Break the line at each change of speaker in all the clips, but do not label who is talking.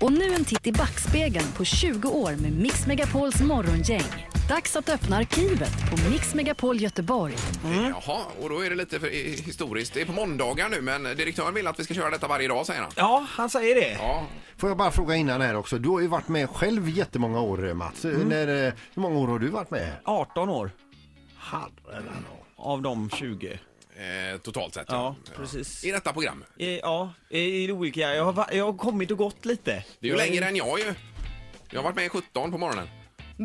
Och nu en titt i backspegeln på 20 år med Mix Megapols morgongäng. Dags att öppna arkivet på Mix Megapol Göteborg.
Jaha, och då är det lite för, i- historiskt. Det är på måndagar nu, men direktören vill att vi ska köra detta varje dag, säger han.
Ja, han säger det.
Ja,
Får jag bara fråga innan här också. Du har ju varit med själv jättemånga år Mats. När, eh, hur många år har du varit med?
18 år
Herrarna.
av de 20.
eh, totalt sett.
Ja, precis.
I detta program.
I, ja, i, i olika. Jag har, va- jag har kommit och gått lite.
Det är ju
Jag
längre än jag ju. Jag har varit med i 17 på morgonen.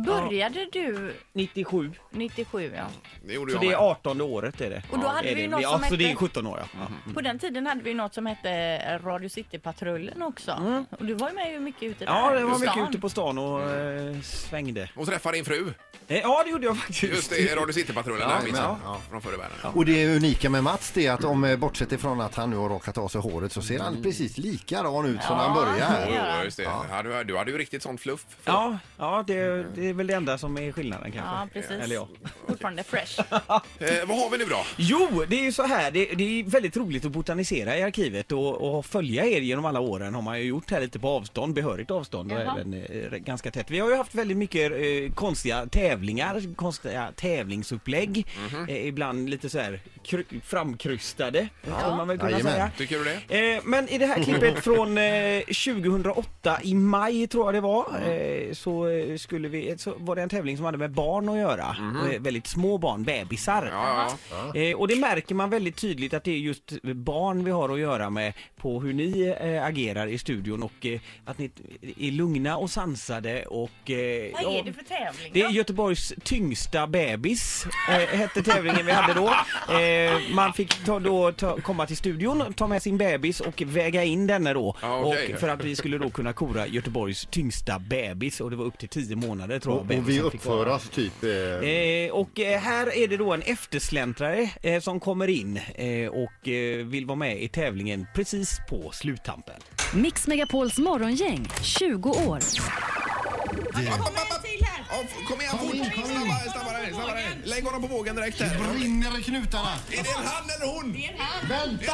Började du
97,
97 ja.
Det gjorde
så
jag
det är
med.
18 året är det.
Och då
Ja,
hade
är
vi
det.
något
ja,
som
så det är
hette-
17 år ja.
Mm.
ja.
På den tiden hade vi något som hette Radio City-patrullen också. Och du var ju med ju mycket ute där.
Mm. Ja, det var
på stan.
mycket ute på stan och
Mm.
eh, svängde.
Och träffa din fru.
Eh, Ja, det gjorde jag faktiskt.
Just det, i Radio City-patrullen.
Ja,
där, minns jag.
ja.
Från förr i världen.
Och det unika med Mats det är att om, eh, bortsett ifrån att han nu har råkat av sig håret så ser han precis likadan ut som när han
Jo,
började.
gör han.
jo, just det. Ja. du, du hade ju riktigt sånt fluff.
Ja, ja det, det är väl det enda som är skillnaden kanske.
Ja, precis.
Eller ja.
Fortfarande fresh.
Eh, vad har vi nu då?
Jo, det är ju så här. Det, det är väldigt roligt att botanisera i arkivet och, och följa er genom alla åren har man ju gjort här lite på avstånd, behörigt avstånd och
Jaha.
även eh, ganska tätt. Vi har ju haft väldigt mycket eh, konstiga tävlingar, konstiga tävlingsupplägg. eh, ibland lite så här kry- framkrystade, skulle man väl kunna
Jajamän.
säga.
Tycker du det?
Eh, men i det här klippet från eh, 2008 i maj tror jag det var eh, så, eh, skulle vi, så var det en tävling som hade med barn att göra. Eh, väldigt små barn, bebisar.
Ja, ja.
Eh, och det märker man väldigt tydligt att det är just barn vi har att göra med på hur ni eh, agerar i studion och eh, att ni är lugna och sansade och... Eh,
Vad
ja,
är det för tävling
det är
då?
Göteborgs tyngsta bebis, eh, hette tävlingen vi hade då. Eh, man fick ta, då ta, komma till studion, ta med sin bebis och väga in denne då.
Ja, okej.
och för att vi skulle då kunna kora Göteborgs tyngsta bebis och det var upp till 10 månader tror
Och,
jag.
och
bebisen
vi
fick vara.
uppför oss typ... eh,
Eh, och eh, här är det då en eftersläntrare eh, som kommer in eh, och eh, vill vara med i tävlingen precis på sluttampen.
Mix Megapols morgongäng, 20 år.
Ja, f- Kom igen, fort! Snabbare, snabbare, snabbare! Lägg honom på vågen direkt här.
Brinner i knutarna!
Är det en han eller hon? Det är en
Vänta!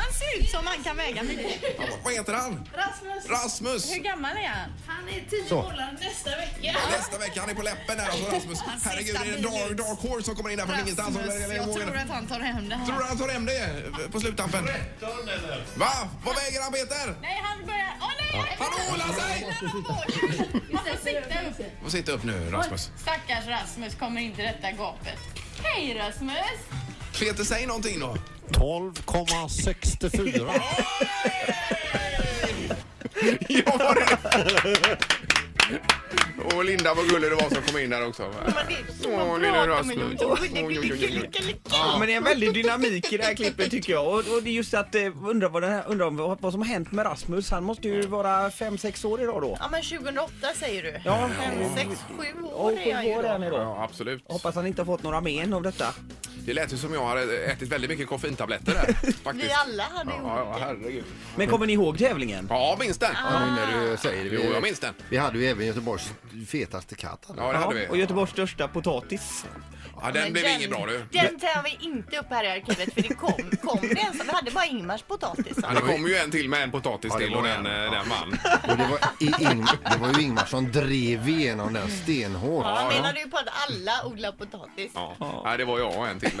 Han ser ut som han kan väga mycket.
Vad heter han?
Rasmus,
Rasmus!
hur gammal är han?
Han är tio
Så.
månader nästa vecka.
Nästa vecka, han är på läppen här alltså Rasmus. Herregud, det är en dark, dark horse som kommer in där från ingenstans. Och-
Rasmus, jag tror att han tar hem det
Tror
här.
du han tar hem det på sluttampen? 13 eller? Va? Vad väger han Peter?
Nej, han börjar... Åh nej!
Han ålar sig!
Man får sitta upp.
Får sitta upp nu Rasmus.
Stackars Rasmus kommer inte detta gapet. Hej Rasmus!
Peter, säg någonting då.
12,64.
Ja, var det Och Linda, vad gullig det var som kom in där också. Åh, lilla Rasmus. Oj, oj, oj, oj, oj.
Men det är en väldig dynamik i det här klippet tycker jag. Och, och det är just att eh, undra vad, den här, undra om vad, vad som har hänt med Rasmus. Han måste ju vara 5-6 år idag då.
Ja men 2008 säger du.
Ja,
Fem, sex, sju
och
år är jag
sju
ju
år är han
då.
idag.
Ja, absolut.
Hoppas han inte har fått några men av detta.
Det lät ju som jag hade ätit väldigt mycket koffeintabletter där. Faktiskt.
Vi alla hade gjort
Ja, ja, herregud.
Men kommer ni ihåg tävlingen?
Ja, minns den.
Ja, nu när du säger det.
Jo, jag minns den.
Vi hade ju även Göteborgs fetaste katt. hade vi.
Ja, det hade
och
vi.
Göteborgs största potatis.
Ja, den blev ingen bra du.
Den tar vi inte upp här i arkivet för det kom, kom det ens. Vi hade bara Ingmars potatis.
Ja, det kom ju en till med en potatis
Ja, det
till
var
och den,
en.
eh, den vann.
Och det, var i in, det var ju Ingmar som drev igenom den stenhårt.
Han menade ju på att alla odlar potatis.
Ja. Nej, det var jag och en till